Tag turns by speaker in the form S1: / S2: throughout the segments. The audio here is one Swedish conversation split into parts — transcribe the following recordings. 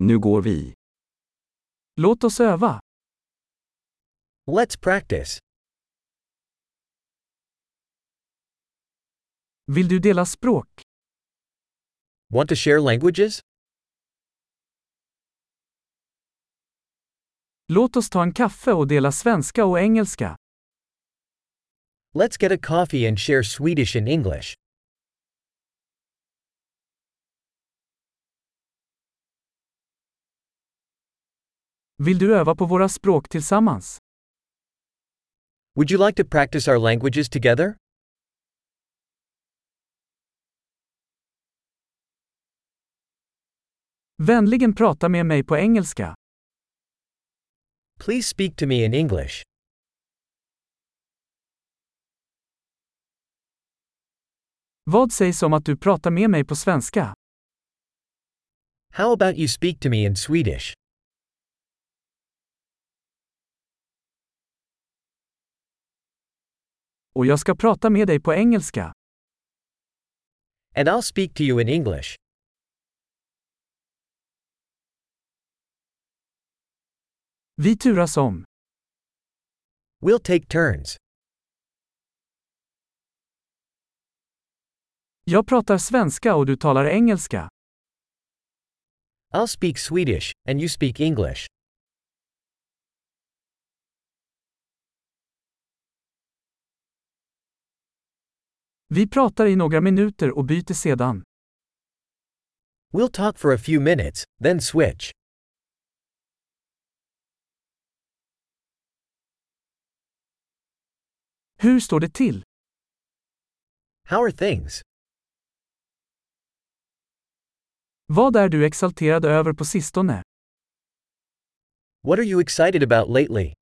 S1: Nu går vi.
S2: Låt oss öva.
S3: Let's practice.
S2: Vill du dela språk?
S3: Want to share languages?
S2: Låt oss ta en kaffe och dela svenska och engelska.
S3: Let's get a coffee and share Swedish and English.
S2: Vill du öva på våra språk tillsammans?
S3: Would you like to practice our languages together?
S2: Vänligen prata med mig på engelska.
S3: Please speak to me in English.
S2: Vad sägs om att du pratar med mig på svenska?
S3: How about you speak to me in Swedish?
S2: Och jag ska prata med dig på engelska.
S3: And I'll speak to you in English.
S2: Vi turas om.
S3: We'll take turns.
S2: Jag pratar svenska och du talar engelska.
S3: I'll speak Swedish, and you speak English.
S2: Vi pratar i några minuter och byter sedan.
S3: We'll talk for a few minutes, then switch.
S2: Hur står det till?
S3: How are things?
S2: Vad är du exalterad över på sistone?
S3: What are you excited about lately?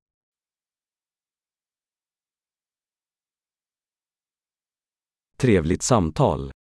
S1: Trevligt samtal.